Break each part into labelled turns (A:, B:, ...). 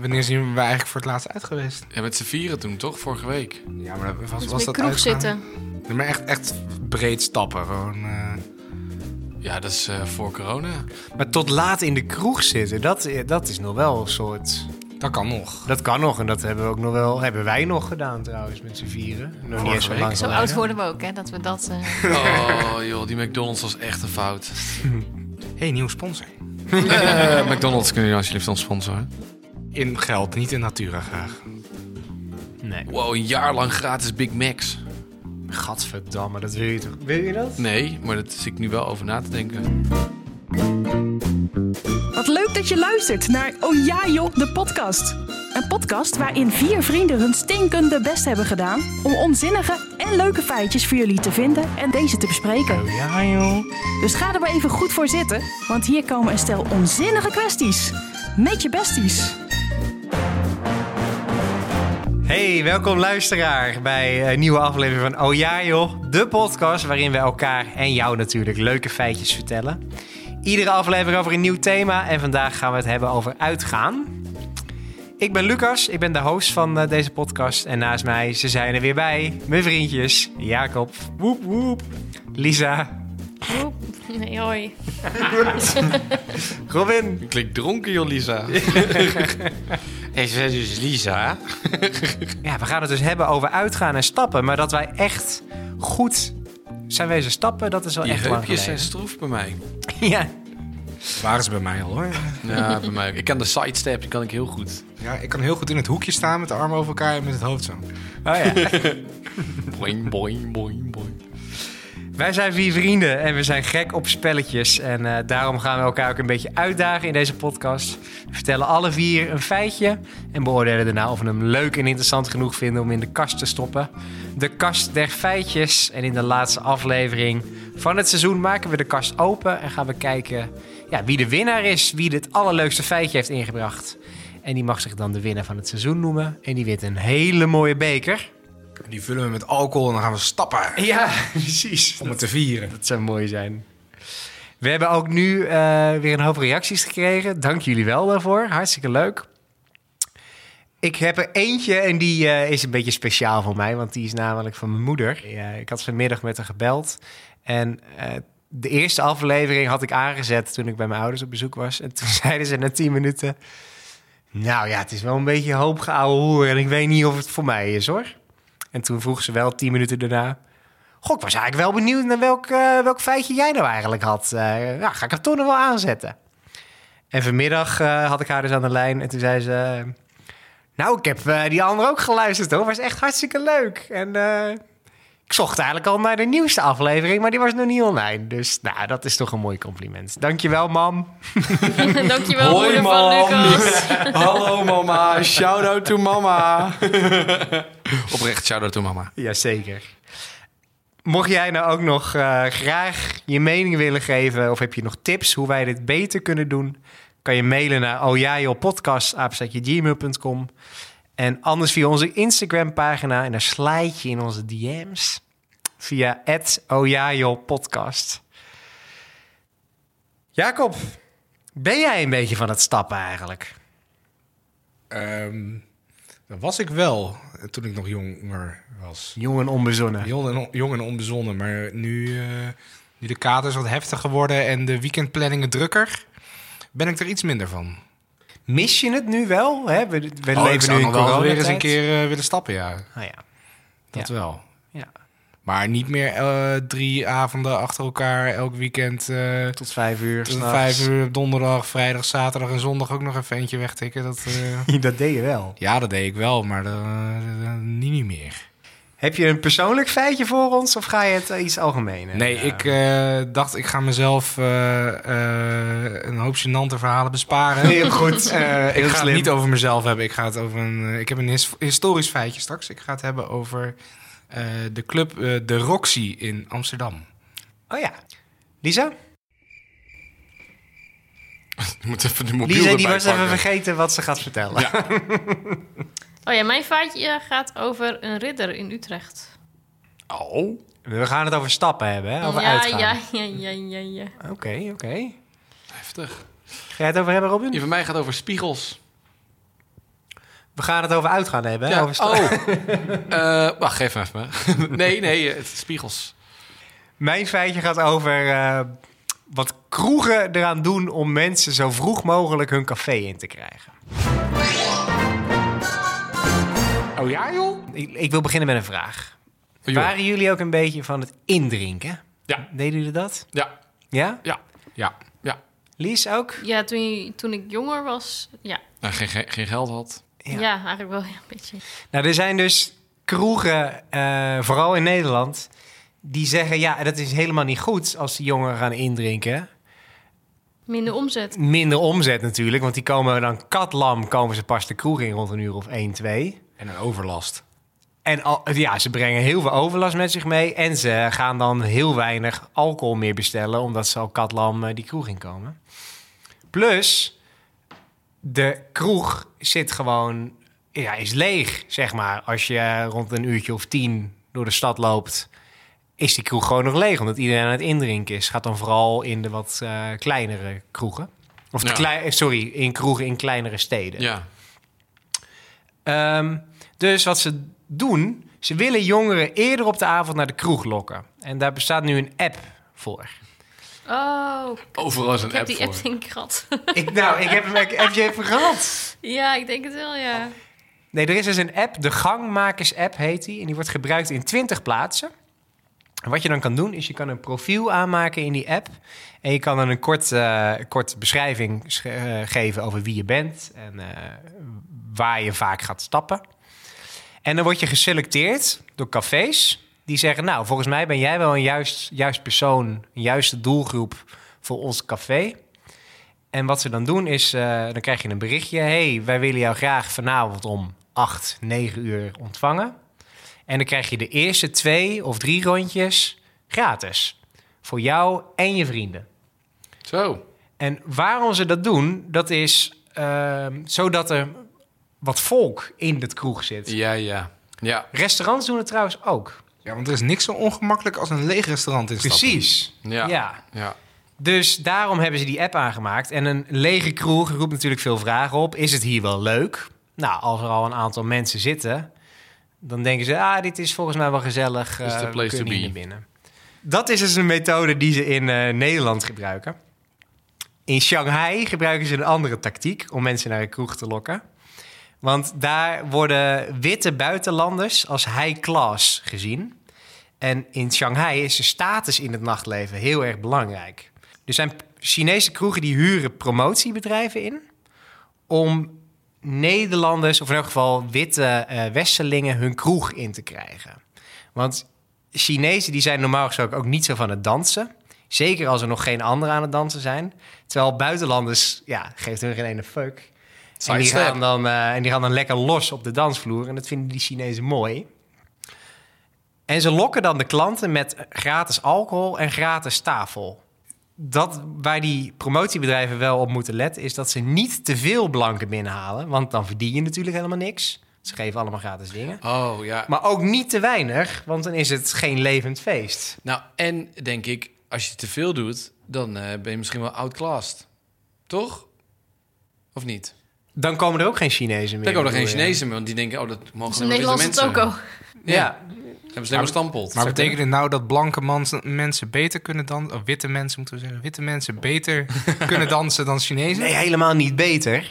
A: Wanneer zijn we eigenlijk voor het laatst uit geweest?
B: Ja, met z'n vieren toen, toch? Vorige week.
A: Ja, maar dat was,
C: Dus
A: was dat
C: meer kroeg
A: uitgaan?
C: zitten.
A: Nee, maar echt, echt breed stappen. Gewoon, eh.
B: Ja, dat is eh, voor corona.
D: Maar tot laat in de kroeg zitten, dat, dat is nog wel een soort...
A: Dat kan nog.
D: Dat kan nog en dat hebben, we ook nog wel, hebben wij nog gedaan trouwens met z'n vieren. Nog niet
B: Vorige
D: eens zo
B: week.
D: lang
C: Zo
D: geleden.
C: oud worden we ook, hè? Dat we dat. eh,
B: Oh, joh, die McDonald's was echt een fout.
A: hey, nieuwe sponsor.
B: Eh, McDonald's kunnen jullie alsjeblieft ons sponsoren.
A: In geld, niet in natura graag.
D: Nee.
B: Wow, een jaar lang gratis Big Macs.
D: Gadverdamme, dat wil je toch? Wil je dat?
B: Nee, maar dat zit ik nu wel over na te denken.
E: Wat leuk dat je luistert naar Oh ja joh, de podcast. Een podcast waarin vier vrienden hun stinkende best hebben gedaan... om onzinnige en leuke feitjes voor jullie te vinden en deze te bespreken.
D: Ja joh.
E: Dus ga er maar even goed voor zitten, want hier komen een stel onzinnige kwesties. Met je besties.
D: Hey, welkom luisteraar bij een nieuwe aflevering van Oh ja joh, de podcast waarin we elkaar en jou natuurlijk leuke feitjes vertellen. Iedere aflevering over een nieuw thema en vandaag gaan we het hebben over uitgaan. Ik ben Lucas, ik ben de host van eh, deze podcast en naast mij, ze zijn er weer bij, mijn vriendjes Jacob, woep woep, Lisa,
C: oep, nee, hoi.
D: Robin.
B: Ik klink dronken, joh, Lisa.
F: Hey, ze is dus Lisa.
D: Ja, we gaan het dus hebben over uitgaan en stappen, maar dat wij echt goed zijn wezen stappen, dat is wel
B: Die
D: echt lang
B: heupjes zijn
D: geleden.
B: stroef bij mij.
D: Ja.
A: Waren ze bij mij al hoor.
B: Ja, bij mij. ook. Ik kan de sidestep, die kan ik heel goed.
A: Ja, ik kan heel goed in het hoekje staan met de armen over elkaar en met het hoofd zo.
D: Oh ja.
B: Boing, boing, boing, boing.
D: Wij zijn vier vrienden en we zijn gek op spelletjes. En eh, daarom gaan we elkaar ook een beetje uitdagen in deze podcast. We vertellen alle vier een feitje en beoordelen daarna of we hem leuk en interessant genoeg vinden om in de kast te stoppen. De kast der feitjes. En in de laatste aflevering van het seizoen maken we de kast open en gaan we kijken ja, wie de winnaar is, wie het allerleukste feitje heeft ingebracht. En die mag zich dan de winnaar van het seizoen noemen. En die wint een hele mooie beker.
A: En die vullen we met alcohol en dan gaan we stappen
D: Ja, precies.
A: om het te vieren.
D: Dat zou mooi zijn. We hebben ook nu eh, weer een hoop reacties gekregen. Dank jullie wel daarvoor. Hartstikke leuk. Ik heb er eentje en die eh, is een beetje speciaal voor mij, want die is namelijk van mijn moeder. Ja, ik had vanmiddag met haar gebeld en eh, de eerste aflevering had ik aangezet toen ik bij mijn ouders op bezoek was. En toen zeiden ze na tien minuten, nou ja, het is wel een beetje een hoop geouwe hoer en ik weet niet of het voor mij is hoor. En toen vroeg ze wel tien minuten daarna, Goh, ik was eigenlijk wel benieuwd naar welk, eh, welk feitje jij nou eigenlijk had. Eh, ja, ga ik het toch nog wel aanzetten. En vanmiddag eh, had ik haar dus aan de lijn en toen zei ze... eh, Nou, ik heb eh, die andere ook geluisterd hoor, was echt hartstikke leuk. En eh, ik zocht eigenlijk al naar de nieuwste aflevering, maar die was nog niet online. Dus nou, dat is toch een mooi compliment. Dankjewel, mam.
C: Dankjewel, moeder van Lucas.
B: Hallo, mama. Shout-out to mama. Oprecht, shout-out to mama.
D: Jazeker. Mocht jij nou ook nog eh, graag je mening willen geven... of heb je nog tips hoe wij dit beter kunnen doen... kan je mailen naar ojajoepodcast.gmail.com En anders via onze Instagram-pagina... en daar slijt je in onze DM's via @ojajopodcast. Jacob, ben jij een beetje van het stappen eigenlijk?
A: Ehm, dat was ik wel eh, toen ik nog jonger was.
D: Jong en onbezonnen.
A: Jong en, on- jong en onbezonnen, maar nu, eh, nu de kater is wat heftiger worden en de weekendplanningen drukker, ben ik er iets minder van.
D: Mis je het nu wel? Hè? We, we
A: Oh, ik
D: leven
A: zou
D: nu in
A: nog wel weer eens een
D: coronatijd.
A: keer eh, willen stappen, ja.
D: Ah ja.
A: Dat
D: Ja.
A: wel.
D: Ja.
A: Maar niet meer eh, drie avonden achter elkaar elk weekend. eh,
D: Tot vijf uur.
A: tot
D: s'nachts.
A: vijf uur op donderdag, vrijdag, zaterdag en zondag ook nog even eentje wegtikken. Dat, eh,
D: Dat deed je wel.
A: ja, dat deed ik wel, maar dat, eh, dat- niet, niet meer.
D: Heb je een persoonlijk feitje voor ons of ga je het eh, iets algemeen?
A: Nee, ik eh, dacht ik ga mezelf eh, eh, een hoop gênante verhalen besparen.
D: Heel goed.
A: Eh, ik
D: Heel
A: ga
D: slim.
A: het niet over mezelf hebben. Ik, ga het over een, eh, ik heb een his- historisch feitje straks. Ik ga het hebben over eh, de club eh, De Roxy in Amsterdam.
D: Oh ja. Lisa?
B: Ik moet even de mobiel
D: Lisa die
B: erbij
D: was even
B: pakken.
D: vergeten wat ze gaat vertellen.
B: Ja.
C: Oh ja, mijn vaatje gaat over een ridder in Utrecht.
B: Oh.
D: We gaan het over stappen hebben, hè? Over
C: ja,
D: uitgaan.
C: ja, ja, ja, ja, ja.
D: Oké, oké.
B: Heftig.
D: Ga je het over hebben, Robin?
B: Die van mij gaat over spiegels.
D: We gaan het over uitgaan hebben. hè?
B: Ja.
D: Over sta-
B: Oh, Eh, wacht geef me even. nee, nee, het is spiegels.
A: Oh.
D: Mijn feitje gaat over eh, wat kroegen eraan doen om mensen zo vroeg mogelijk hun café in te krijgen.
B: Oh ja, joh?
D: Ik, ik wil beginnen met een vraag. Waren jullie ook een beetje van het indrinken?
B: Ja.
D: Deden jullie dat?
B: Ja,
D: Ja?
B: ja,
A: Ja.
B: ja.
D: Lies ook?
C: Ja, toen, je- toen ik jonger was, ja.
B: Nou, geen, geen, geen geld had.
D: Ja.
C: Ja, eigenlijk wel ja, een beetje.
D: Nou, er zijn dus kroegen, eh, vooral in Nederland, die zeggen: ja, dat is helemaal niet goed als die jongeren gaan indrinken.
C: Minder omzet.
D: Minder omzet natuurlijk, want die komen dan katlam, komen ze pas de kroeg in rond een uur of 1, 2.
A: En een overlast.
D: En al, ja, ze brengen heel veel overlast met zich mee. En ze gaan dan heel weinig alcohol meer bestellen, omdat ze al katlam eh, die kroeg in komen. Plus, de kroeg zit gewoon, ja, is leeg, zeg maar. Als je rond een uurtje of tien door de stad loopt, is die kroeg gewoon nog leeg. Omdat iedereen aan het indrinken is. Gaat dan vooral in de wat eh, kleinere kroegen. Of de
B: Ja.
D: klei- eh, sorry, in kroegen in kleinere steden.
B: Ja.
D: Ehm, dus wat ze doen, ze willen jongeren eerder op de avond naar de kroeg lokken. En daar bestaat nu een app voor.
C: Oh,
B: Overal is
C: ik
B: een
C: heb
B: app
C: die
B: voor.
C: app denk ik gehad.
D: Ik, nou, ik heb hem ik heb je even gehad.
C: ja, ik denk het wel, ja.
D: Nee, er is dus een app, de Gangmakers-app heet die. En die wordt gebruikt in 20 plaatsen. En wat je dan kan doen, is je kan een profiel aanmaken in die app. En je kan dan een kort, eh, kort beschrijving sch- eh, geven over wie je bent en eh, waar je vaak gaat stappen. En dan word je geselecteerd door cafés die zeggen... nou, volgens mij ben jij wel een juist, juist persoon, een juiste doelgroep voor ons café. En wat ze dan doen is, eh, dan krijg je een berichtje... hey, wij willen jou graag vanavond om 8, 9 uur ontvangen. En dan krijg je de eerste twee of drie rondjes gratis. Voor jou en je vrienden.
B: Zo.
D: En waarom ze dat doen, dat is ehm, zodat er wat volk in het kroeg zit.
B: Ja, ja. Ja,
D: Restaurants doen het trouwens ook.
A: Ja, want er is niks zo ongemakkelijk als een leeg restaurant in stappen.
D: Precies.
B: ja. ja.
D: ja. Dus daarom hebben ze die app aangemaakt. En een lege kroeg roept natuurlijk veel vragen op. Is het hier wel leuk? Nou, als er al een aantal mensen zitten, dan denken ze: ah, dit is volgens mij wel gezellig.
B: This is
D: eh,
B: the
D: we
B: place to
D: kunnen hier
B: be.
D: naar binnen. Dat is dus een methode die ze in eh, Nederland gebruiken. In Shanghai gebruiken ze een andere tactiek om mensen naar een kroeg te lokken. Want daar worden witte buitenlanders als high class gezien. En in Shanghai is de status in het nachtleven heel erg belangrijk. Er zijn Chinese kroegen die huren promotiebedrijven in om Nederlanders, of in elk geval witte eh westerlingen, hun kroeg in te krijgen. Want Chinezen die zijn normaal gesproken ook niet zo van het dansen. Zeker als er nog geen anderen aan het dansen zijn. Terwijl buitenlanders, ja, geeft hun geen ene fuck. En die,
B: Sidestep.
D: gaan dan, eh, en die gaan dan lekker los op de dansvloer. En dat vinden die Chinezen mooi. En ze lokken dan de klanten met gratis alcohol en gratis tafel. Dat waar die promotiebedrijven wel op moeten letten, is dat ze niet te veel blanken binnenhalen. Want dan verdien je natuurlijk helemaal niks. Ze geven allemaal gratis dingen.
B: Oh, ja.
D: Maar ook niet te weinig, want dan is het geen levend feest.
B: Nou, en denk ik, als je te veel doet, dan eh, ben je misschien wel outclassed. Toch? Of niet?
D: Dan komen er ook geen Chinezen meer.
B: Dan komen er geen
D: bedoel je.
B: Chinezen meer, want die denken, oh, dat mogen
C: Dus
B: alleen
C: in
B: maar witte
C: Nederland is het ook al.
B: mensen. Ja,
D: Ja.
B: hebben ze alleen maar stampeld.
A: Maar betekent het nou dat blanke mans- mensen beter kunnen dansen... Of witte mensen, moeten we zeggen. Witte mensen beter kunnen dansen dan Chinezen?
D: Nee, helemaal niet beter.
A: Ja,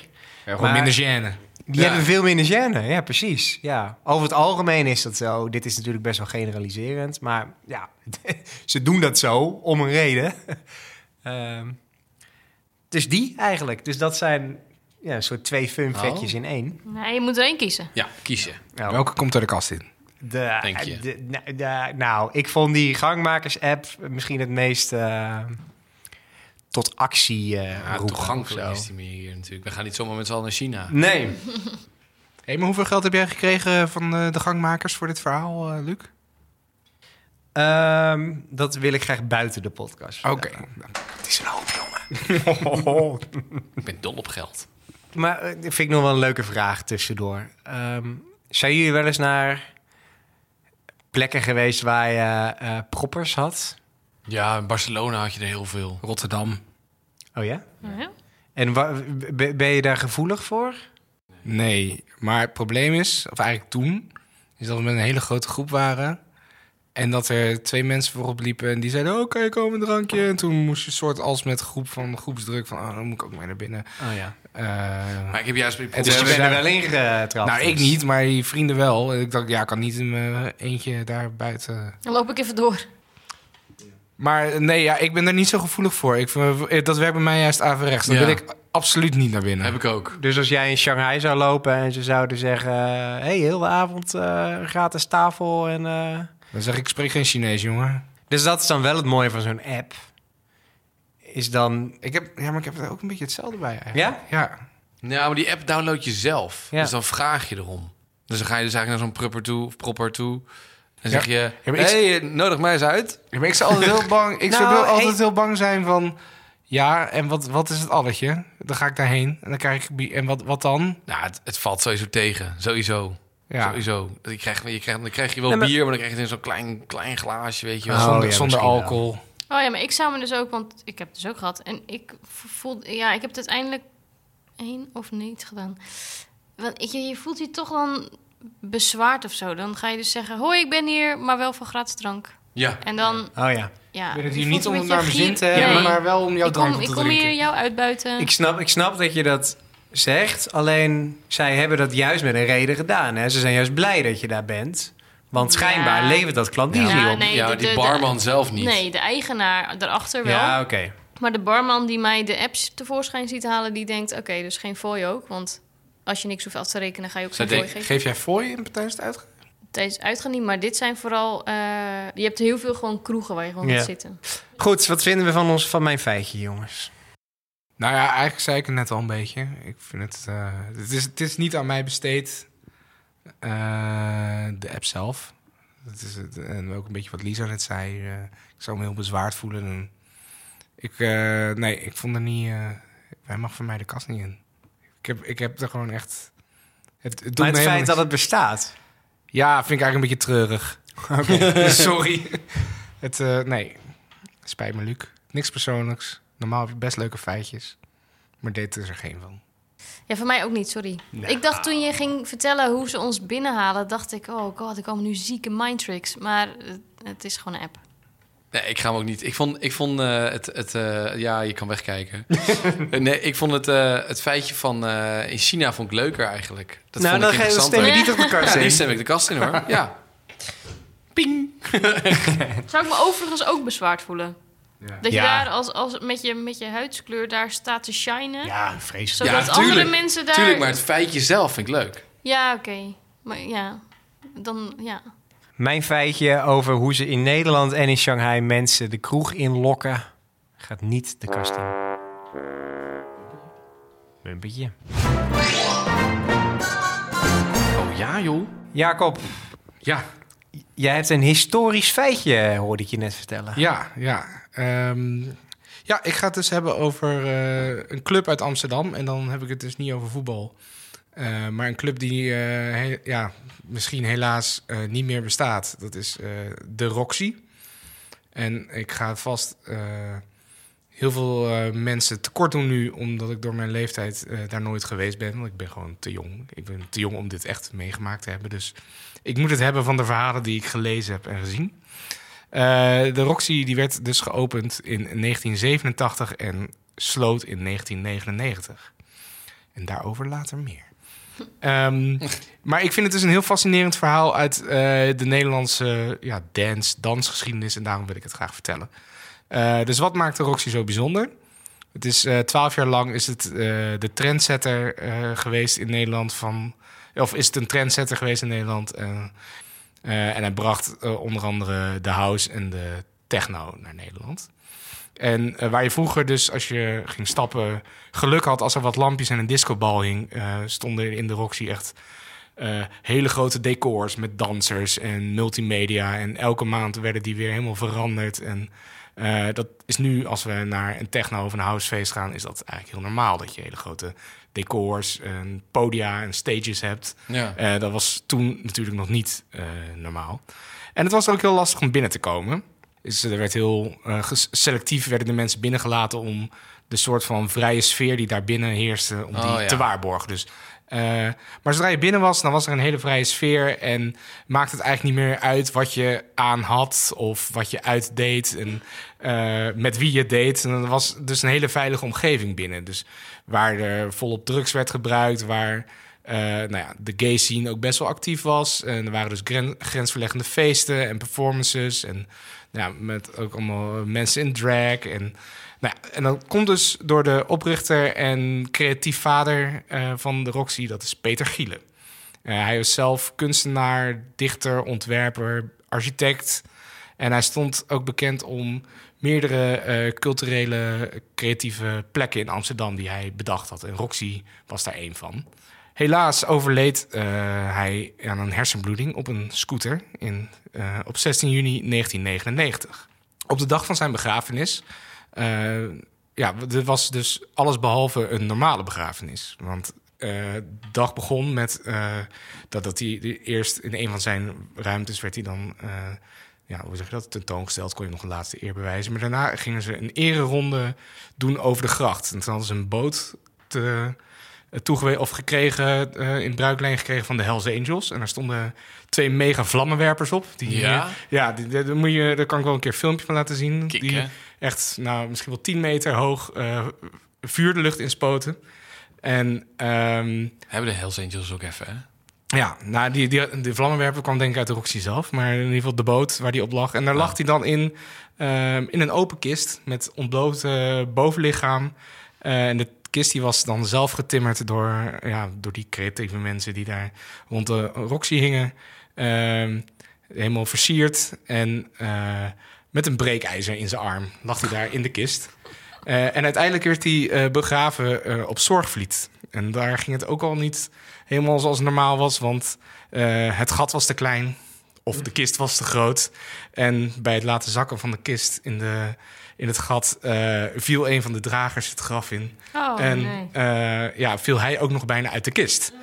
A: gewoon
D: maar-
A: minder gêne.
D: Die
B: Ja.
D: hebben veel minder gêne. Ja, precies. Ja. Over het algemeen is dat zo. Dit is natuurlijk best wel generaliserend. Maar ja, ze doen dat zo om een reden. Ehm, dus die eigenlijk. Dus dat zijn ja, een soort twee fun
B: Oh.
D: factjes in één.
C: Nee, je moet er één kiezen.
B: Ja, kies je.
D: Nou,
A: Welke komt er de kast in?
D: de,
B: Denk je?
D: de- nou, de- nou, ik vond die gangmakers-app misschien het meest eh, tot actie eh
B: Ja,
D: roepen
B: toegankelijk
D: of
B: is
D: zo.
B: die meer hier natuurlijk. We gaan niet zomaar met z'n allen naar China.
D: Nee.
A: Hé, maar hoeveel geld heb jij gekregen van eh, de gangmakers voor dit verhaal, eh, Luc?
D: Ehm, dat wil ik graag buiten de podcast.
B: Oh,
A: Oké.
D: vertellen. Het is een hoop, jongen.
B: Ik ben dol op geld.
D: Maar eh, dat vind ik nog wel een leuke vraag tussendoor. Ehm, zijn jullie wel eens naar plekken geweest waar je eh, proppers had?
B: Ja, in Barcelona had je er heel veel.
A: Rotterdam.
D: Oh ja?
C: Ja.
D: En wa- be- ben je daar gevoelig voor?
A: Nee, maar het probleem is, of eigenlijk toen, is dat we met een hele grote groep waren. En dat er twee mensen voorop liepen en die zeiden, oh, kan je komen een drankje? En toen moest je soort als met groep van groepsdruk van, oh, dan moet ik ook mee naar binnen.
B: Oh ja.
A: Eh,
B: Maar ik heb juist...
A: Het
D: Dus
A: is-
D: je
A: we
D: bent er
A: zijn-
D: wel in getrapt.
A: nou, ik
D: dus.
A: niet, maar die vrienden wel. En ik dacht, ja, ik kan niet in mijn eentje daar buiten.
C: Dan loop ik even door.
A: Maar nee, ja, ik ben daar niet zo gevoelig voor. Ik, vind- eh, dat werkt bij mij juist averechts. Dan
B: Ja.
A: wil ik absoluut niet naar binnen.
B: Heb ik ook.
D: Dus als jij in Shanghai zou lopen en ze zouden zeggen... eh, hey, heel de avond eh, gratis tafel en... eh,
A: Dan zeg ik, ik spreek geen Chinees, jongen.
D: Dus dat is dan wel het mooie van zo'n app. Is dan...
A: Ik heb, ja, maar ik heb er ook een beetje hetzelfde bij eigenlijk.
D: Ja?
A: Ja.
B: Ja, maar die app download je zelf.
D: Ja.
B: Dus dan vraag je erom. Dus dan ga je dus eigenlijk naar zo'n prepper toe, of propper toe. En zeg je,
A: Ja, maar ik-
B: hey, eh, nodig mij eens uit.
A: Ja, maar ik zou altijd heel bang, ik zou
D: Nou,
A: wel altijd
D: hey.
A: heel bang zijn van... Ja, en wat, wat is het alletje? Dan ga ik daarheen en dan krijg ik... bi- En wat, wat dan?
B: Nou, het, het valt sowieso tegen. Sowieso.
A: Ja.
B: Sowieso. Je krijgt, je krijgt, dan krijg je wel
D: Nee, maar-
B: bier, maar dan krijg je het in zo'n klein, klein glaasje, weet je wel.
D: Oh,
A: zonder
D: ja,
A: zonder
D: misschien wel.
A: alcohol.
C: Oh ja, maar ik zou me dus ook, want ik heb het dus ook gehad. En ik voel, ja, ik heb het uiteindelijk één of niet gedaan. Want ik- je, je voelt je toch dan bezwaard of zo. Dan ga je dus zeggen, hoi, ik ben hier, maar wel voor gratis drank.
B: Ja.
C: En dan,
D: Oh ja.
C: ja.
A: Ik ben het
C: je
A: hier
C: voelt
A: niet om
C: een
A: het
C: beetje
A: naar mijn zin te
C: gier-
A: hebben,
C: Nee.
A: maar wel om jouw
C: ik kom,
A: drank
C: ik
A: te
C: kom
A: drinken.
C: hier jou uitbuiten.
D: Ik snap, ik snap dat je dat zegt. Alleen zij hebben dat juist met een reden gedaan. Hè? Ze zijn juist blij dat je daar bent. Want
C: Ja.
D: schijnbaar levert dat klandizie
C: Ja,
D: op.
C: nee,
B: ja,
C: de-
B: die
C: de-
B: barman
C: de-
B: zelf niet.
C: Nee, de eigenaar erachter wel.
D: ja, oké.
C: Maar de barman die mij de apps tevoorschijn ziet halen, die denkt: oké, dus geen fooi ook. Want als je niks hoeft af te rekenen, ga je ook
B: Zij
C: geen fooi
B: denkt,
C: geven.
A: Geef jij voor je in tijdens het uitgaan?
C: Tijdens uitgaan niet, maar dit zijn vooral. eh, je hebt heel veel gewoon kroegen waar je gewoon
D: Ja.
C: gaat zitten.
D: Goed, wat vinden we van, ons, van mijn feitje, jongens?
A: Nou ja, eigenlijk zei ik het net al een beetje. Ik vind het... eh, het, is, het is niet aan mij besteed. eh, de app zelf. Dat is het, en ook een beetje wat Lisa net zei. eh, ik zou me heel bezwaard voelen. En ik, eh, nee, ik vond er niet... eh hij mag voor mij de kast niet in. Ik heb, ik heb er gewoon echt... Het, het doet
D: Maar
A: me
D: het
A: helemaal
D: feit
A: niks.
D: dat het bestaat.
A: Ja, vind ik eigenlijk een beetje treurig. Sorry. Het, eh, nee, spijt me, Luc. Niks persoonlijks. Normaal heb je best leuke feitjes. Maar dit is er geen van.
C: Ja, voor mij ook niet, sorry. Ik dacht toen je ging vertellen hoe ze ons binnenhalen, dacht ik: oh god, ik kwam nu zieke mindtricks. Maar het, het is gewoon een app.
B: Nee, ik ga hem ook niet. Ik vond, ik vond eh, het... het eh, ja, je kan wegkijken. nee, ik vond het, eh, het feitje van... eh, in China vond ik leuker eigenlijk. Dat
D: nou,
B: vond
D: dan
B: ik
D: ga je-
B: interessanter.
D: stem je niet op elkaar
B: Ja, die
D: in.
B: stem ik de kast in, hoor. Ja. Ping.
C: Zou ik me overigens ook bezwaard voelen? Dat je
D: Ja.
C: daar als, als met, je, met je huidskleur daar staat te shinen.
D: Ja, vreselijk.
C: Zodat
B: Ja,
C: andere
B: tuurlijk.
C: mensen daar...
B: Tuurlijk, maar het feitje zelf vind ik leuk.
C: Ja, oké. Maar ja, dan ja.
D: Mijn feitje over hoe ze in Nederland en in Shanghai mensen de kroeg inlokken, gaat niet de kast in. Een beetje.
B: Oh ja, joh.
D: Jacob,
A: Ja,
D: jij hebt een historisch feitje, hoorde ik je net vertellen.
A: ja, ja. Ehm, ja, ik ga het dus hebben over eh, een club uit Amsterdam. En dan heb ik het dus niet over voetbal. Eh, maar een club die eh, he- ja, misschien helaas eh, niet meer bestaat. Dat is eh, de Roxy. En ik ga vast eh, heel veel eh, mensen tekort doen nu, omdat ik door mijn leeftijd eh, daar nooit geweest ben. Want ik ben gewoon te jong. Ik ben te jong om dit echt meegemaakt te hebben. Dus ik moet het hebben van de verhalen die ik gelezen heb en gezien. Eh, de Roxy die werd dus geopend in 1987 en sloot in 1999. En daarover later meer. Ehm, maar ik vind het dus een heel fascinerend verhaal uit eh, de Nederlandse ja, dance, dansgeschiedenis. En daarom wil ik het graag vertellen. Eh, dus wat maakt de Roxy zo bijzonder? Het is eh, twaalf jaar lang is het eh, de trendsetter eh, geweest in Nederland van... Of is het een trendsetter geweest in Nederland? eh, eh, en hij bracht eh, onder andere de house en de techno naar Nederland. En eh, waar je vroeger dus, als je ging stappen, geluk had als er wat lampjes en een discobal hing, eh, stonden in de Roxy echt eh, hele grote decors met dansers en multimedia. En elke maand werden die weer helemaal veranderd. En eh, dat is nu, als we naar een techno of een housefeest gaan, is dat eigenlijk heel normaal. Dat je hele grote decors en podia en stages hebt.
B: Ja.
A: Eh, dat was toen natuurlijk nog niet eh, normaal. En het was ook heel lastig om binnen te komen. Dus er werd heel eh, ges- selectief werden de mensen binnengelaten om de soort van vrije sfeer die daar binnen heerste, om
B: Oh,
A: die
B: ja.
A: te waarborgen. Dus eh, Eh, maar zodra je binnen was, dan was er een hele vrije sfeer. En maakt het eigenlijk niet meer uit wat je aan had of wat je uitdeed. En eh, met wie je deed. En dat was dus een hele veilige omgeving binnen. Dus waar er volop drugs werd gebruikt, waar eh, nou ja, de gay scene ook best wel actief was. En er waren dus gren- grensverleggende feesten en performances. En nou ja, met ook allemaal eh, mensen in drag. En, nou ja, en dat komt dus door de oprichter en creatief vader eh, van de Roxy, dat is Peter Gielen. Eh, hij is zelf kunstenaar, dichter, ontwerper, architect. En hij stond ook bekend om meerdere eh, culturele, creatieve plekken in Amsterdam die hij bedacht had. En Roxy was daar één van. Helaas overleed eh, hij aan een hersenbloeding op een scooter in, eh, op 16 juni 1999. Op de dag van zijn begrafenis. eh, ja, er was dus alles behalve een normale begrafenis. Want eh, de dag begon met eh, dat, dat hij de- eerst in een van zijn ruimtes werd hij dan. eh, ja, hoe zeg je dat? Tentoongesteld kon je nog een laatste eer bewijzen. Maar daarna gingen ze een ereronde doen over de gracht. En toen hadden ze een boot te, toegewezen of gekregen, eh, in bruikleen gekregen van de Hells Angels. En daar stonden twee mega vlammenwerpers op. Die,
B: Ja?
A: ja, die, die- die moet je, daar kan ik wel een keer een filmpje van laten zien.
B: Kick,
A: die
B: hè?
A: echt, nou, misschien wel 10 meter hoog eh, vuur de lucht inspoten. En ehm,
B: Hebben de Hells Angels ook even, hè?
A: ja, nou, die, die, de vlammenwerper kwam denk ik uit de Roxy zelf. Maar in ieder geval de boot waar die op lag. En daar lag hij dan in, ehm, in een open kist met ontbloot eh, bovenlichaam. Eh, en de kist die was dan zelf getimmerd door, ja, door die creatieve mensen die daar rond de Roxy hingen. Ehm, helemaal versierd en eh, met een breekijzer in zijn arm lag hij daar in de kist. Eh, en uiteindelijk werd hij eh, begraven eh, op Zorgvliet. En daar ging het ook al niet helemaal zoals het normaal was, want eh, het gat was te klein of de kist was te groot. En bij het laten zakken van de kist in, de, in het gat eh, viel een van de dragers het graf in.
C: Oh,
A: en
C: nee.
A: eh, ja, viel hij ook nog bijna uit de kist.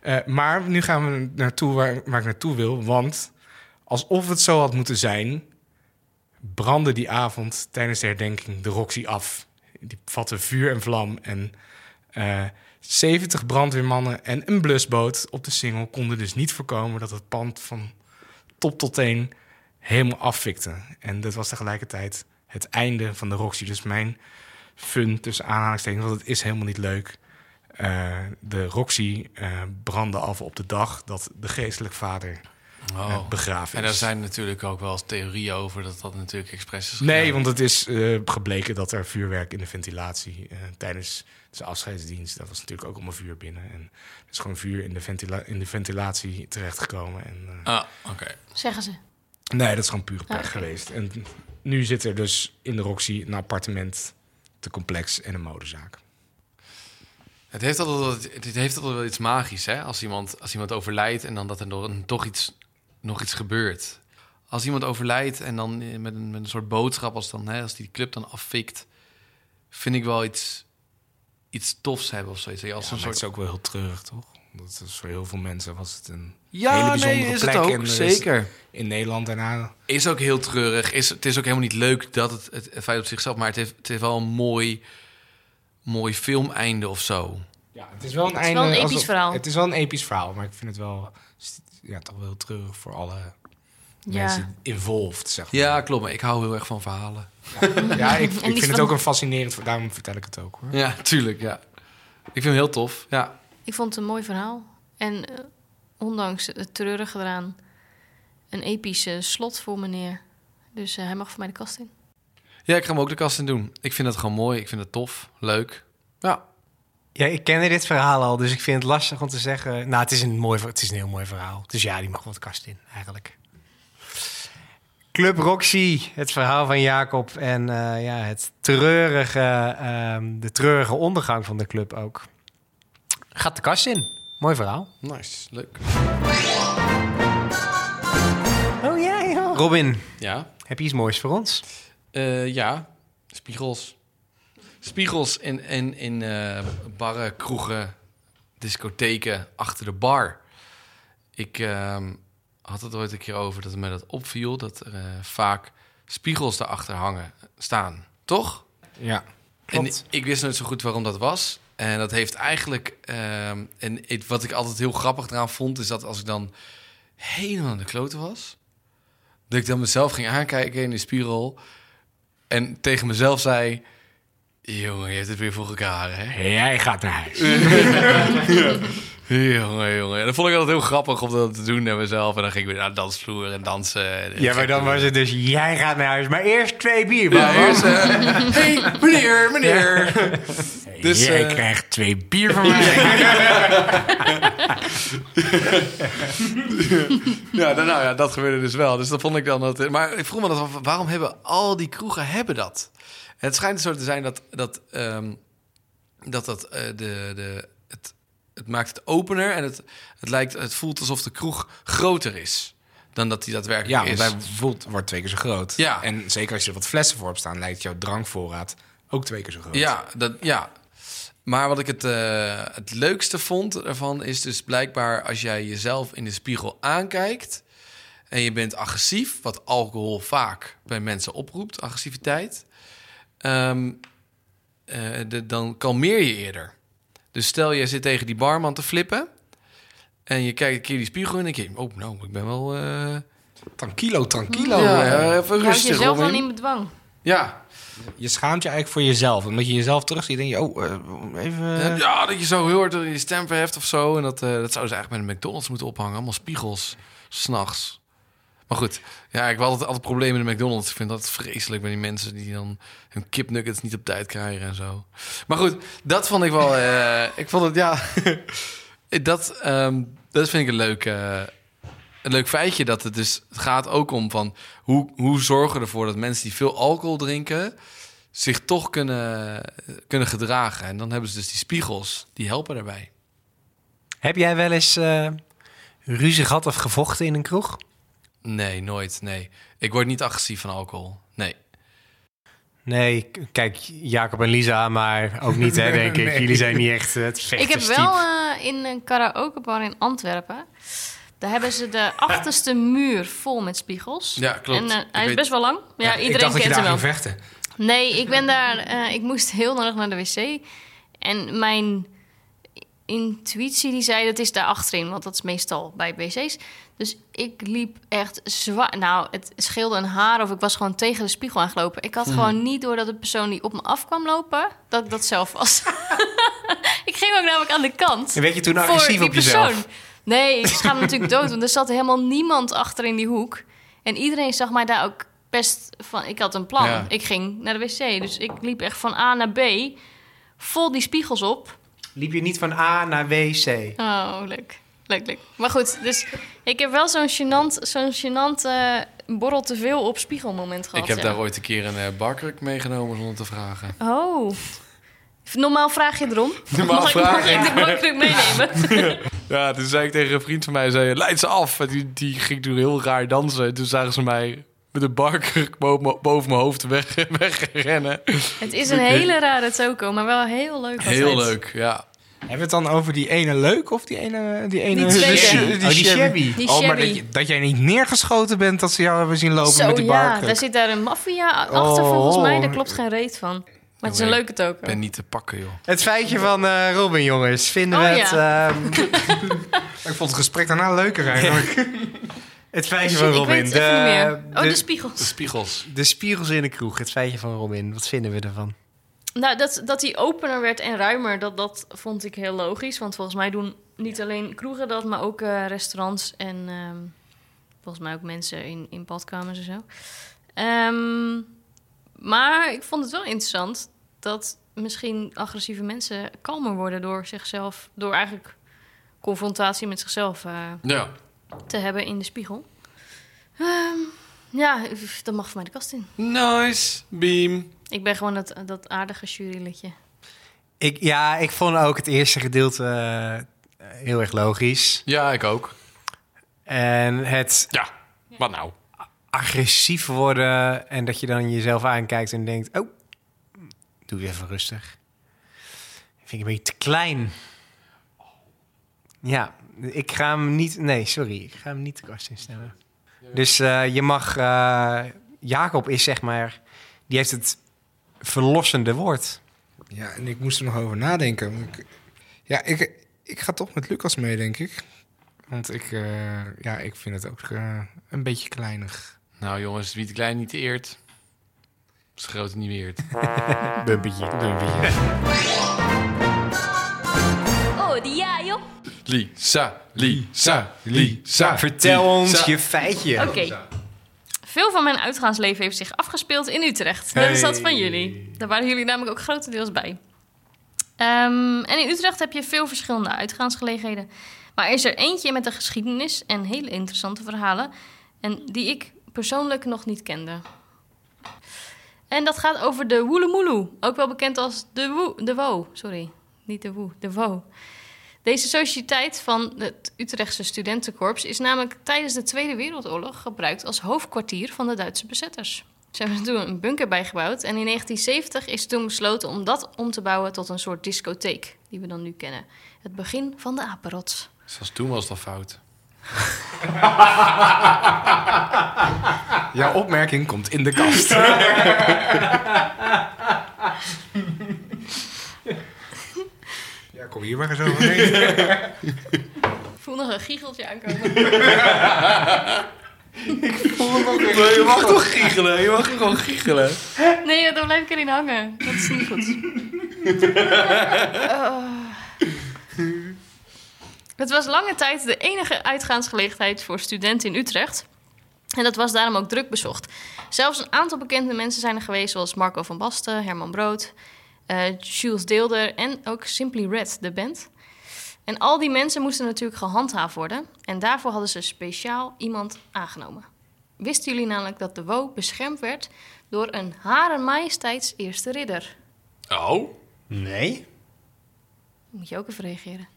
A: Eh, maar nu gaan we naartoe waar, waar ik naartoe wil. Want alsof het zo had moeten zijn, brandde die avond tijdens de herdenking de Roxy af. Die vatte vuur en vlam. En eh, 70 brandweermannen en een blusboot op de single konden dus niet voorkomen dat het pand van top tot teen helemaal afvikte. En dat was tegelijkertijd het einde van de Roxy. Dus mijn fun tussen aanhalingstekens, want het is helemaal niet leuk. Eh, de Roxy eh, brandde af op de dag dat de geestelijk vader eh,
B: Oh.
A: begraven
B: En
A: is.
B: daar zijn natuurlijk ook wel theorieën over dat dat natuurlijk expres is
A: Nee,
B: gedaan.
A: want het is eh, gebleken dat er vuurwerk in de ventilatie eh, tijdens zijn afscheidsdienst. Dat was natuurlijk ook allemaal vuur binnen. En er is gewoon vuur in de, ventila- in de ventilatie terechtgekomen. En, eh,
B: Ah, oké.
C: Zeggen ze.
A: Nee, dat is gewoon pure pech
C: Ah, oké.
A: geweest. En nu zit er dus in de Roxy een appartement, te complex en een modezaak.
B: Het heeft altijd wel, het heeft altijd wel iets magisch, hè? Als iemand, als iemand overlijdt en dan dat er nog, toch iets, nog iets gebeurt. Als iemand overlijdt en dan eh, met een, met een soort boodschap als, dan, hè, als die club dan afvikt... vind ik wel iets, iets tofs hebben of zoiets. Als
A: Ja,
B: een
A: maar het
B: soort...
A: is ook wel heel treurig, toch? Dat is dus voor heel veel mensen was het een
B: Ja,
A: hele bijzondere
B: nee, is
A: plek.
B: het ook,
A: en er is
B: zeker.
A: In Nederland daarna.
B: Is ook heel treurig. Is, het is ook helemaal niet leuk dat het, het, het feit op zichzelf... maar het heeft, het heeft wel een mooi, mooi filmeinde of zo.
A: Ja, het is wel een,
C: Het is wel een
A: einde
C: episch verhaal.
A: Het is wel een episch verhaal, maar ik vind het wel st- ja, toch wel heel treurig voor alle mensen involved, zeg maar.
B: Ja, klopt. Maar ik hou heel erg van verhalen.
A: Ja, ik, ik
C: die
A: vind het
C: van-
A: ook een fascinerend, daarom vertel ik het ook, hoor.
B: Ja, tuurlijk, ja. Ik vind hem heel tof, ja.
C: Ik vond het een mooi verhaal. En eh, ondanks het treurige eraan, een epische slot voor meneer. Dus eh, hij mag voor mij de kast in.
B: Ja, ik ga hem ook de kast in doen. Ik vind dat gewoon mooi. Ik vind het tof. Leuk. Ja.
D: Ja, ik kende dit verhaal al, dus ik vind het lastig om te zeggen. Nou, het is een, mooi, ver- het is een heel mooi verhaal. Dus ja, die mag wel de kast in, eigenlijk. Club Roxy, het verhaal van Jacob en eh, ja, het treurige, ehm, de treurige ondergang van de club ook. Gaat de kast in. Mooi verhaal.
B: Nice. Leuk.
D: Oh ja, ja. Robin,
B: Ja.
D: heb je iets moois voor ons?
B: Eh, ja. Spiegels. Spiegels in, in, in eh, barren, kroegen, discotheken, achter de bar. Ik ehm, had het ooit een keer over dat het me dat opviel... dat er eh, vaak spiegels daarachter hangen, staan. Toch?
A: Ja.
B: En ik wist nooit zo goed waarom dat was. Eh, En dat heeft eigenlijk... ehm, en het- wat ik altijd heel grappig eraan vond... is dat als ik dan helemaal aan de kloten was... dat ik dan mezelf ging aankijken in de spiegel... en tegen mezelf zei... jongen, je hebt het weer voor elkaar, hè?
D: Jij gaat naar huis.
B: Jongen, jongen. En dat vond ik altijd heel grappig om dat te doen naar mezelf. En dan ging ik weer naar de dansvloer en dansen. En
D: Ja, maar dan was het dus, jij gaat naar huis. Maar eerst twee bier,
B: Ja,
D: man.
B: eerst, eh, hey, meneer, meneer. Dus,
D: jij
B: eh,
D: krijgt twee bier van mij.
B: Ja, nou, nou ja, dat gebeurde dus wel. Dus dat vond ik dan dat. Maar ik vroeg me dat af, waarom hebben al die kroegen hebben dat? En het schijnt dus zo te zijn dat dat ehm, dat, dat eh, de, de het, het maakt het opener en het, het lijkt het voelt alsof de kroeg groter is dan dat die
A: Ja,
B: daadwerkelijk
A: want
B: is.
A: hij voelt, wordt twee keer zo groot.
B: Ja.
A: En zeker als je er wat flessen voor hebt staan, lijkt jouw drankvoorraad ook twee keer zo groot.
B: Ja, dat, ja. Maar wat ik het, eh, het leukste vond ervan is dus blijkbaar als jij jezelf in de spiegel aankijkt en je bent agressief, wat alcohol vaak bij mensen oproept, agressiviteit, ehm, eh, de- dan kalmeer je eerder. Dus stel je zit tegen die barman te flippen en je kijkt een keer die spiegel in en denk je, oh nou, ik ben wel eh
A: Tranquilo, tranquilo.
B: ja, eh, even
C: Je houdt
B: rustig.
C: jezelf dan
B: Robin.
C: in bedwang.
B: Ja,
A: Je schaamt je eigenlijk voor jezelf. Omdat je jezelf terugziet en je, oh, eh, even...
B: Eh, Ja, dat je zo heel hard je stem verheft of zo. En dat, eh, dat zouden ze eigenlijk met een McDonald's moeten ophangen. Allemaal spiegels, s'nachts. Maar goed, ja, ik heb altijd, altijd problemen met de McDonald's. Ik vind dat vreselijk met die mensen die dan hun kipnuggets niet op tijd krijgen en zo. Maar goed, dat vond ik wel... eh, ik vond het, ja... dat, ehm, dat vind ik een leuk, eh, een leuk feitje. Dat het dus het gaat ook om van... Hoe, hoe zorgen we ervoor dat mensen die veel alcohol drinken... zich toch kunnen, kunnen gedragen. En dan hebben ze dus die spiegels. Die helpen daarbij.
D: Heb jij wel eens eh, ruzie gehad of gevochten in een kroeg?
B: Nee, nooit, nee. Ik word niet agressief van alcohol. Nee.
D: Nee, k- kijk, Jacob en Lisa, maar ook niet, hè, denk ik.
A: Nee.
D: Jullie zijn niet echt eh, het
C: Ik heb
D: vechterstiep.
C: wel eh, in een karaokebar in Antwerpen. Daar hebben ze de achterste muur vol met spiegels.
B: Ja, klopt.
C: En eh,
B: Ik
C: hij is
B: weet-
C: best wel lang. Ja,
A: ik
C: iedereen
A: dacht dat
C: kent
A: je daar
C: hem wel.
A: ging vechten.
C: Nee, ik ben daar. eh, ik moest heel nodig naar de wc. En mijn intuïtie die zei dat is daar achterin, want dat is meestal bij wc's. Dus ik liep echt zwaar. Nou, het scheelde een haar of ik was gewoon tegen de spiegel aangelopen. Ik had gewoon niet door dat de persoon die op me af kwam lopen, dat ik dat zelf was. ik ging ook namelijk aan de kant.
D: En werd je toen
B: Nou,
C: voor
D: agressief
C: die
D: op jezelf?
C: persoon. Nee, ik schaam me natuurlijk dood, want er zat helemaal niemand achter in die hoek. En iedereen zag mij daar ook best van. Ik had een plan.
B: Ja.
C: Ik ging naar de wc. Dus ik liep echt van A naar B. Vol die spiegels op.
D: Liep je niet van A naar WC?
C: Oh, leuk. Leuk, leuk. Maar goed, dus ik heb wel zo'n gênant, zo'n gênant eh, borrel te veel op spiegelmoment gehad.
B: ik heb
C: ja.
B: daar ooit een keer een eh, barkruk meegenomen zonder te vragen.
C: Oh. Normaal vraag je erom.
B: Normaal
C: mag, ik-
B: vraag
C: mag ik de bankdruk meenemen?
B: Ja, toen zei ik tegen een vriend van mij, zei, leid ze af. En die, die ging toen heel raar dansen. En toen zagen ze mij met een barkruk boven, boven mijn hoofd weg, wegrennen.
C: Het is een hele rare toko, maar wel heel leuk. altijd.
B: Heel leuk, ja.
A: Hebben we het dan over die ene leuk of die ene... Die ene
C: Die tweede.
A: Chevy?
D: Oh, die Chevy.
C: Die
A: Oh, maar
C: shabby.
A: dat, je- dat jij niet neergeschoten bent dat ze jou hebben zien lopen
C: Zo
A: met die
C: ja,
A: barkruk.
C: daar zit daar een maffia achter volgens
A: Oh.
C: mij. Daar klopt geen reet van. Maar het is een
B: Oké.
C: leuke toko.
B: Ik ben niet te pakken, joh.
D: Het feitje van eh, Robin, jongens. Vinden
C: Oh,
D: we het... ehm,
A: Ik vond het gesprek daarna leuker eigenlijk.
D: het feitje
C: Shit,
D: van
C: ik weet
D: Robin.
C: het even niet meer. Oh, de,
D: de,
B: De
C: spiegels.
B: spiegels.
D: de spiegels in de kroeg. Het feitje van Robin. Wat vinden we ervan?
C: Nou, dat, dat die opener werd en ruimer, dat, dat vond ik heel logisch. Want volgens mij doen niet alleen kroegen dat, maar ook eh, restaurants en ehm, volgens mij ook mensen in, in badkamers en zo. Ehm, maar ik vond het wel interessant dat misschien agressieve mensen kalmer worden door zichzelf, door eigenlijk confrontatie met zichzelf eh,
B: Ja.
C: te hebben in de spiegel. Ehm, ja, dat mag voor mij de kast in.
B: Nice, beam.
C: Ik ben gewoon dat, dat aardige jurylidje.
D: Ik, ja, ik vond ook het eerste gedeelte eh, heel erg logisch.
B: Ja, ik ook.
D: En het
B: Ja, wat nou?
D: agressief worden en dat je dan jezelf aankijkt en denkt... Oh, doe het even rustig. Vind ik een beetje te klein. Ja, ik ga hem niet... Nee, sorry. Ik ga hem niet de kast instellen. Dus eh, je mag... eh, Jacob is zeg maar... Die heeft het verlossende woord.
A: Ja, en ik moest er nog over nadenken. want Ik, ja, ik, ik ga toch met Lucas mee, denk ik. Want ik, eh, ja, ik vind het ook eh, een beetje kleinig.
B: Nou jongens, wie te klein niet eert, is de grote niet weert.
D: Bumpetje.
B: Lisa, Lisa, Lisa.
D: Vertel
B: Lisa.
D: ons je feitje.
C: Oké. Veel van mijn uitgaansleven heeft zich afgespeeld in Utrecht. Net als dat van jullie. Daar waren jullie namelijk ook grotendeels bij. Ehm, en in Utrecht heb je veel verschillende uitgaansgelegenheden. Maar er is er eentje met een geschiedenis en hele interessante verhalen. En die ik persoonlijk nog niet kende. En dat gaat over de Woelemoeloe. Ook wel bekend als de, Woe, de Wo. Sorry, niet de Woe, de Wo. Deze sociëteit van het Utrechtse studentenkorps is namelijk tijdens de Tweede Wereldoorlog gebruikt als hoofdkwartier van de Duitse bezetters. Ze hebben er toen een bunker bijgebouwd en in 1970 is toen besloten om dat om te bouwen tot een soort discotheek, die we dan nu kennen. Het begin van de apenrots.
B: Zoals toen was dat fout.
A: Jouw opmerking komt in de kast. ja, kom hier maar eens overheen.
C: Ik voel nog een giecheltje aankomen.
B: Je mag toch giechelen? Je mag gewoon giechelen.
C: Nee, dan blijf ik erin hangen. Dat is niet goed. Oh. Het was lange tijd de enige uitgaansgelegenheid voor studenten in Utrecht. En dat was daarom ook druk bezocht. Zelfs een aantal bekende mensen zijn er geweest, zoals Marco van Basten, Herman Brood, eh, Jules Deelder en ook Simply Red, de band. En al die mensen moesten natuurlijk gehandhaafd worden. En daarvoor hadden ze speciaal iemand aangenomen. Wisten jullie namelijk dat de WO beschermd werd door een Hare Majesteits Eerste Ridder?
B: Oh?
D: Nee?
C: Moet je ook even reageren.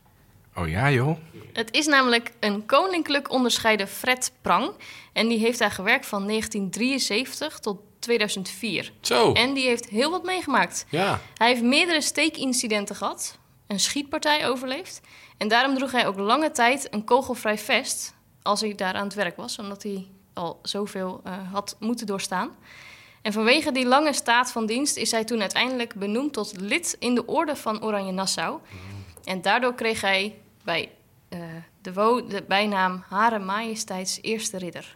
A: Oh ja, joh.
C: Het is namelijk een koninklijk onderscheiden Fred Prang. En die heeft daar gewerkt van 1973 tot 2004.
B: Zo.
C: En die heeft heel wat meegemaakt.
B: Ja.
C: Hij heeft meerdere steekincidenten gehad, een schietpartij overleefd. En daarom droeg hij ook lange tijd een kogelvrij vest als hij daar aan het werk was, omdat hij al zoveel eh, had moeten doorstaan. En vanwege die lange staat van dienst is hij toen uiteindelijk benoemd tot lid in de Orde van Oranje Nassau. En daardoor kreeg hij bij eh, de WO de bijnaam Hare Majesteits Eerste Ridder.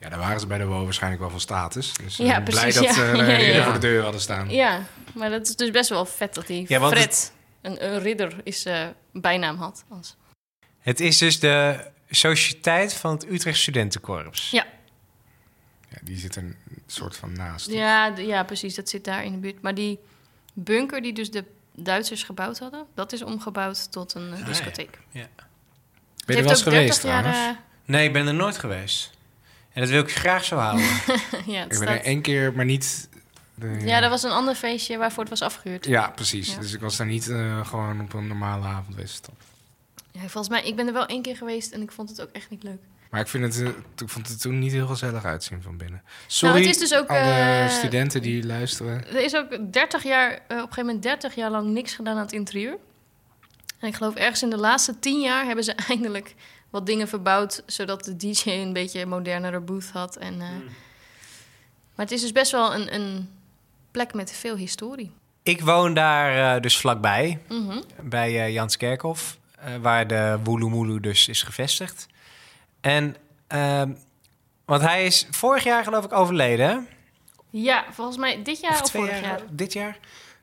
A: Ja, daar waren ze bij de WO waarschijnlijk wel van status. Dus eh,
C: Ja,
A: blij
C: precies,
A: dat
C: ja.
A: ze eh,
C: Ja, ja,
A: iedereen
B: ja.
A: voor de deur hadden staan.
C: Ja, maar dat is dus best wel vet dat hij
D: Ja, want
C: Fred, een, een ridder, is eh, bijnaam had. Als...
D: Het is dus de Sociëteit van het Utrecht Studentenkorps.
C: Ja.
A: Ja, die zit een soort van naast.
C: Ja, d- ja, precies. Dat zit daar in de buurt. Maar die bunker die dus de Duitsers gebouwd hadden, dat is omgebouwd tot een eh,
D: ja.
C: discotheek.
A: Ben Ah, je
C: Het
A: er wel eens
C: heeft ook 30
A: geweest
C: jaar, eh,
A: trouwens?
D: Nee, ik ben er nooit geweest. En dat wil ik graag zo houden.
C: eh, ja, het
A: Ik ben
C: staat-
A: er één keer, maar niet... de-
C: ja, dat was een ander feestje waarvoor het was afgehuurd.
A: Ja, precies.
C: Ja.
A: Dus ik was daar niet eh, gewoon op een normale avond geweest.
C: Ja, volgens mij, ik ben er wel één keer geweest en ik vond het ook echt niet leuk.
A: Maar ik, vind het, eh, ik vond het toen niet heel gezellig uitzien van binnen. Sorry
C: Nou, het is dus ook,
A: alle
C: eh,
A: studenten die luisteren.
C: Er is ook 30 jaar, eh, op een gegeven moment 30 jaar lang niks gedaan aan het interieur. En ik geloof ergens in de laatste 10 jaar hebben ze eindelijk wat dingen verbouwd, zodat de DJ een beetje een modernere booth had. En, eh,
D: Hmm.
C: Maar het is dus best wel een, een plek met veel historie.
D: Ik woon daar eh, dus vlakbij,
C: Mhm.
D: bij eh, Janskerkhof, eh, waar de Woeloemoelu dus is gevestigd. En, ehm, want hij is vorig jaar geloof ik overleden, hè?
C: Ja, volgens mij dit jaar of, vorig jaar.
D: Dit jaar?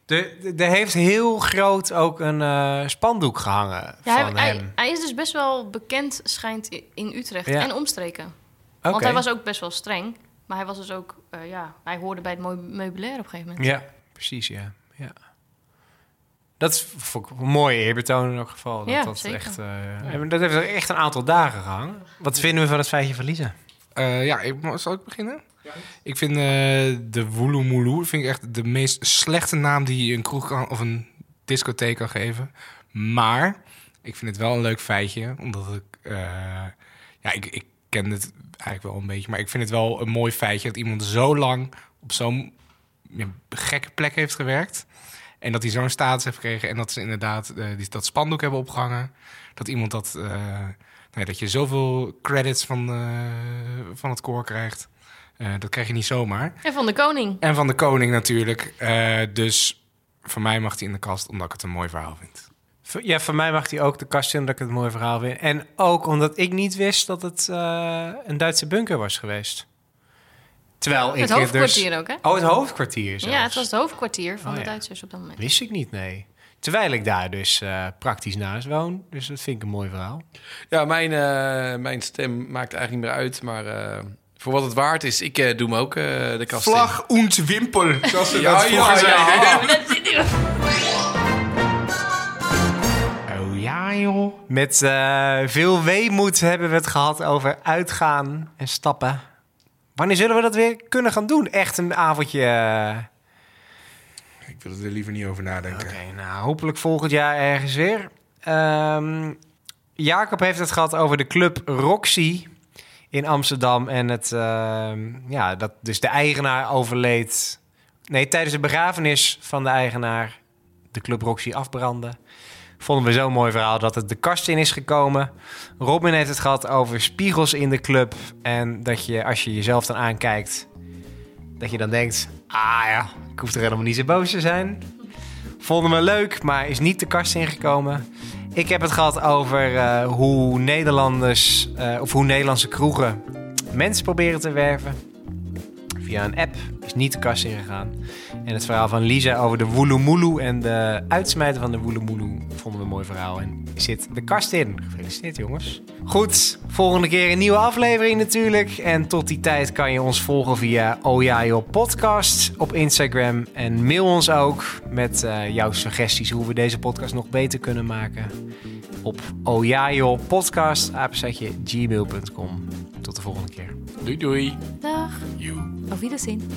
D: De- de- Er heeft heel groot ook een eh, spandoek gehangen
C: Ja, hij,
D: van
C: hij,
D: hem.
C: hij is dus best wel bekend, schijnt i- in Utrecht
D: Ja.
C: en omstreken.
D: Oké.
C: Want hij was ook best wel streng, maar hij was dus ook, eh, ja, hij hoorde bij het mooi- meubilair op een gegeven moment.
D: Ja, precies, ja. ja. Dat is vond ik een mooie eerbetoon in elk geval. Dat,
C: Ja,
D: dat,
C: zeker.
D: Echt, eh, en dat heeft er echt een aantal dagen gehangen. Wat vinden we van het feitje verliezen?
A: Eh, ja, ik, zal ik beginnen? Ik vind eh, de Woeloemoeloe vind ik echt de meest slechte naam die je een kroeg kan, of een discotheek kan geven. Maar ik vind het wel een leuk feitje, omdat ik... eh, ja, ik, ik ken het eigenlijk wel een beetje, maar ik vind het wel een mooi feitje... dat iemand zo lang op zo'n ja, gekke plek heeft gewerkt... en dat hij zo'n status heeft gekregen en dat ze inderdaad eh, die, dat spandoek hebben opgehangen. Dat iemand dat... eh, Nee, dat je zoveel credits van, eh, van het koor krijgt. Eh, dat krijg je niet zomaar.
C: En van de koning.
A: En van de koning natuurlijk. Eh, dus Van mij mag die in de kast, omdat ik het een mooi verhaal vind.
D: V- Ja, van mij mag hij ook de kast in, omdat ik het een mooi verhaal vind. En ook omdat ik niet wist dat het eh, een Duitse bunker was geweest. Terwijl ik
C: Het
D: er
C: hoofdkwartier ook, hè?
D: Dus... Oh, het hoofdkwartier zelfs.
C: Ja, het was het hoofdkwartier van
D: Oh,
C: de
D: ja.
C: Duitsers op dat moment.
D: Wist ik niet, nee. Terwijl ik daar dus eh, praktisch naast woon. Dus dat vind ik een mooi verhaal.
B: Ja, mijn, eh, mijn stem maakt eigenlijk niet meer uit. Maar eh, voor wat het waard is, ik eh, doe me ook eh, de kast in.
A: Vlag und Wimpel, zoals ze
B: Ja,
A: dat vroeger
B: ja,
A: zeiden.
B: ja.
D: Oh ja, joh. Met eh, veel weemoed hebben we het gehad over uitgaan en stappen. Wanneer zullen we dat weer kunnen gaan doen? Echt een avondje. eh,
A: Ik wil er liever niet over nadenken.
D: Oké, nou hopelijk volgend jaar ergens weer. Ehm, Jacob heeft het gehad over de club Roxy in Amsterdam. En het, ehm, ja, dat dus de eigenaar overleed. Nee, tijdens de begrafenis van de eigenaar de club Roxy afbrandde. Vonden we zo'n mooi verhaal dat het de kast in is gekomen. Robin heeft het gehad over spiegels in de club. En dat je, als je jezelf dan aankijkt, dat je dan denkt... Ah ja, ik hoef er helemaal niet zo boos te zijn. Vonden me leuk, maar is niet de kast ingekomen. Ik heb het gehad over eh, hoe Nederlanders eh, of hoe Nederlandse kroegen mensen proberen te werven. Via een app is niet de kast ingegaan. En het verhaal van Lisa over de woeloemoeloe en de uitsmijten van de woeloemoeloe vonden we een mooi verhaal. En zit de kast in. Gefeliciteerd jongens. Goed, volgende keer een nieuwe aflevering natuurlijk. En tot die tijd kan je ons volgen via Ojajo Podcast op Instagram. En mail ons ook met eh, jouw suggesties hoe we deze podcast nog beter kunnen maken. Op ojajopodcast.gmail.com Tot de volgende keer.
B: Doei, doei.
C: Dag.
E: Auf Wiedersehen.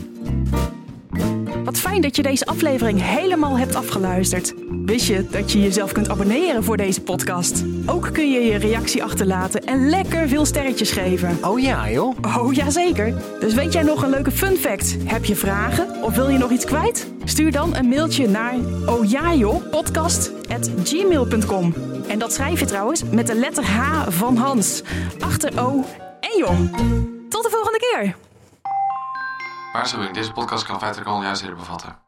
E: Wat fijn dat je deze aflevering helemaal hebt afgeluisterd. Wist je dat je jezelf kunt abonneren voor deze podcast? Ook kun je je reactie achterlaten en lekker veel sterretjes geven.
D: Oh ja joh.
E: Oh, jazeker. Dus weet jij nog een leuke fun fact? Heb je vragen of wil je nog iets kwijt? Stuur dan een mailtje naar ojajopodcast.gmail.com. En dat schrijf je trouwens met de letter H van Hans. Achter O en Jong. Tot de volgende keer!
F: Waarschuwing, deze podcast kan feitelijk al juist bevatten.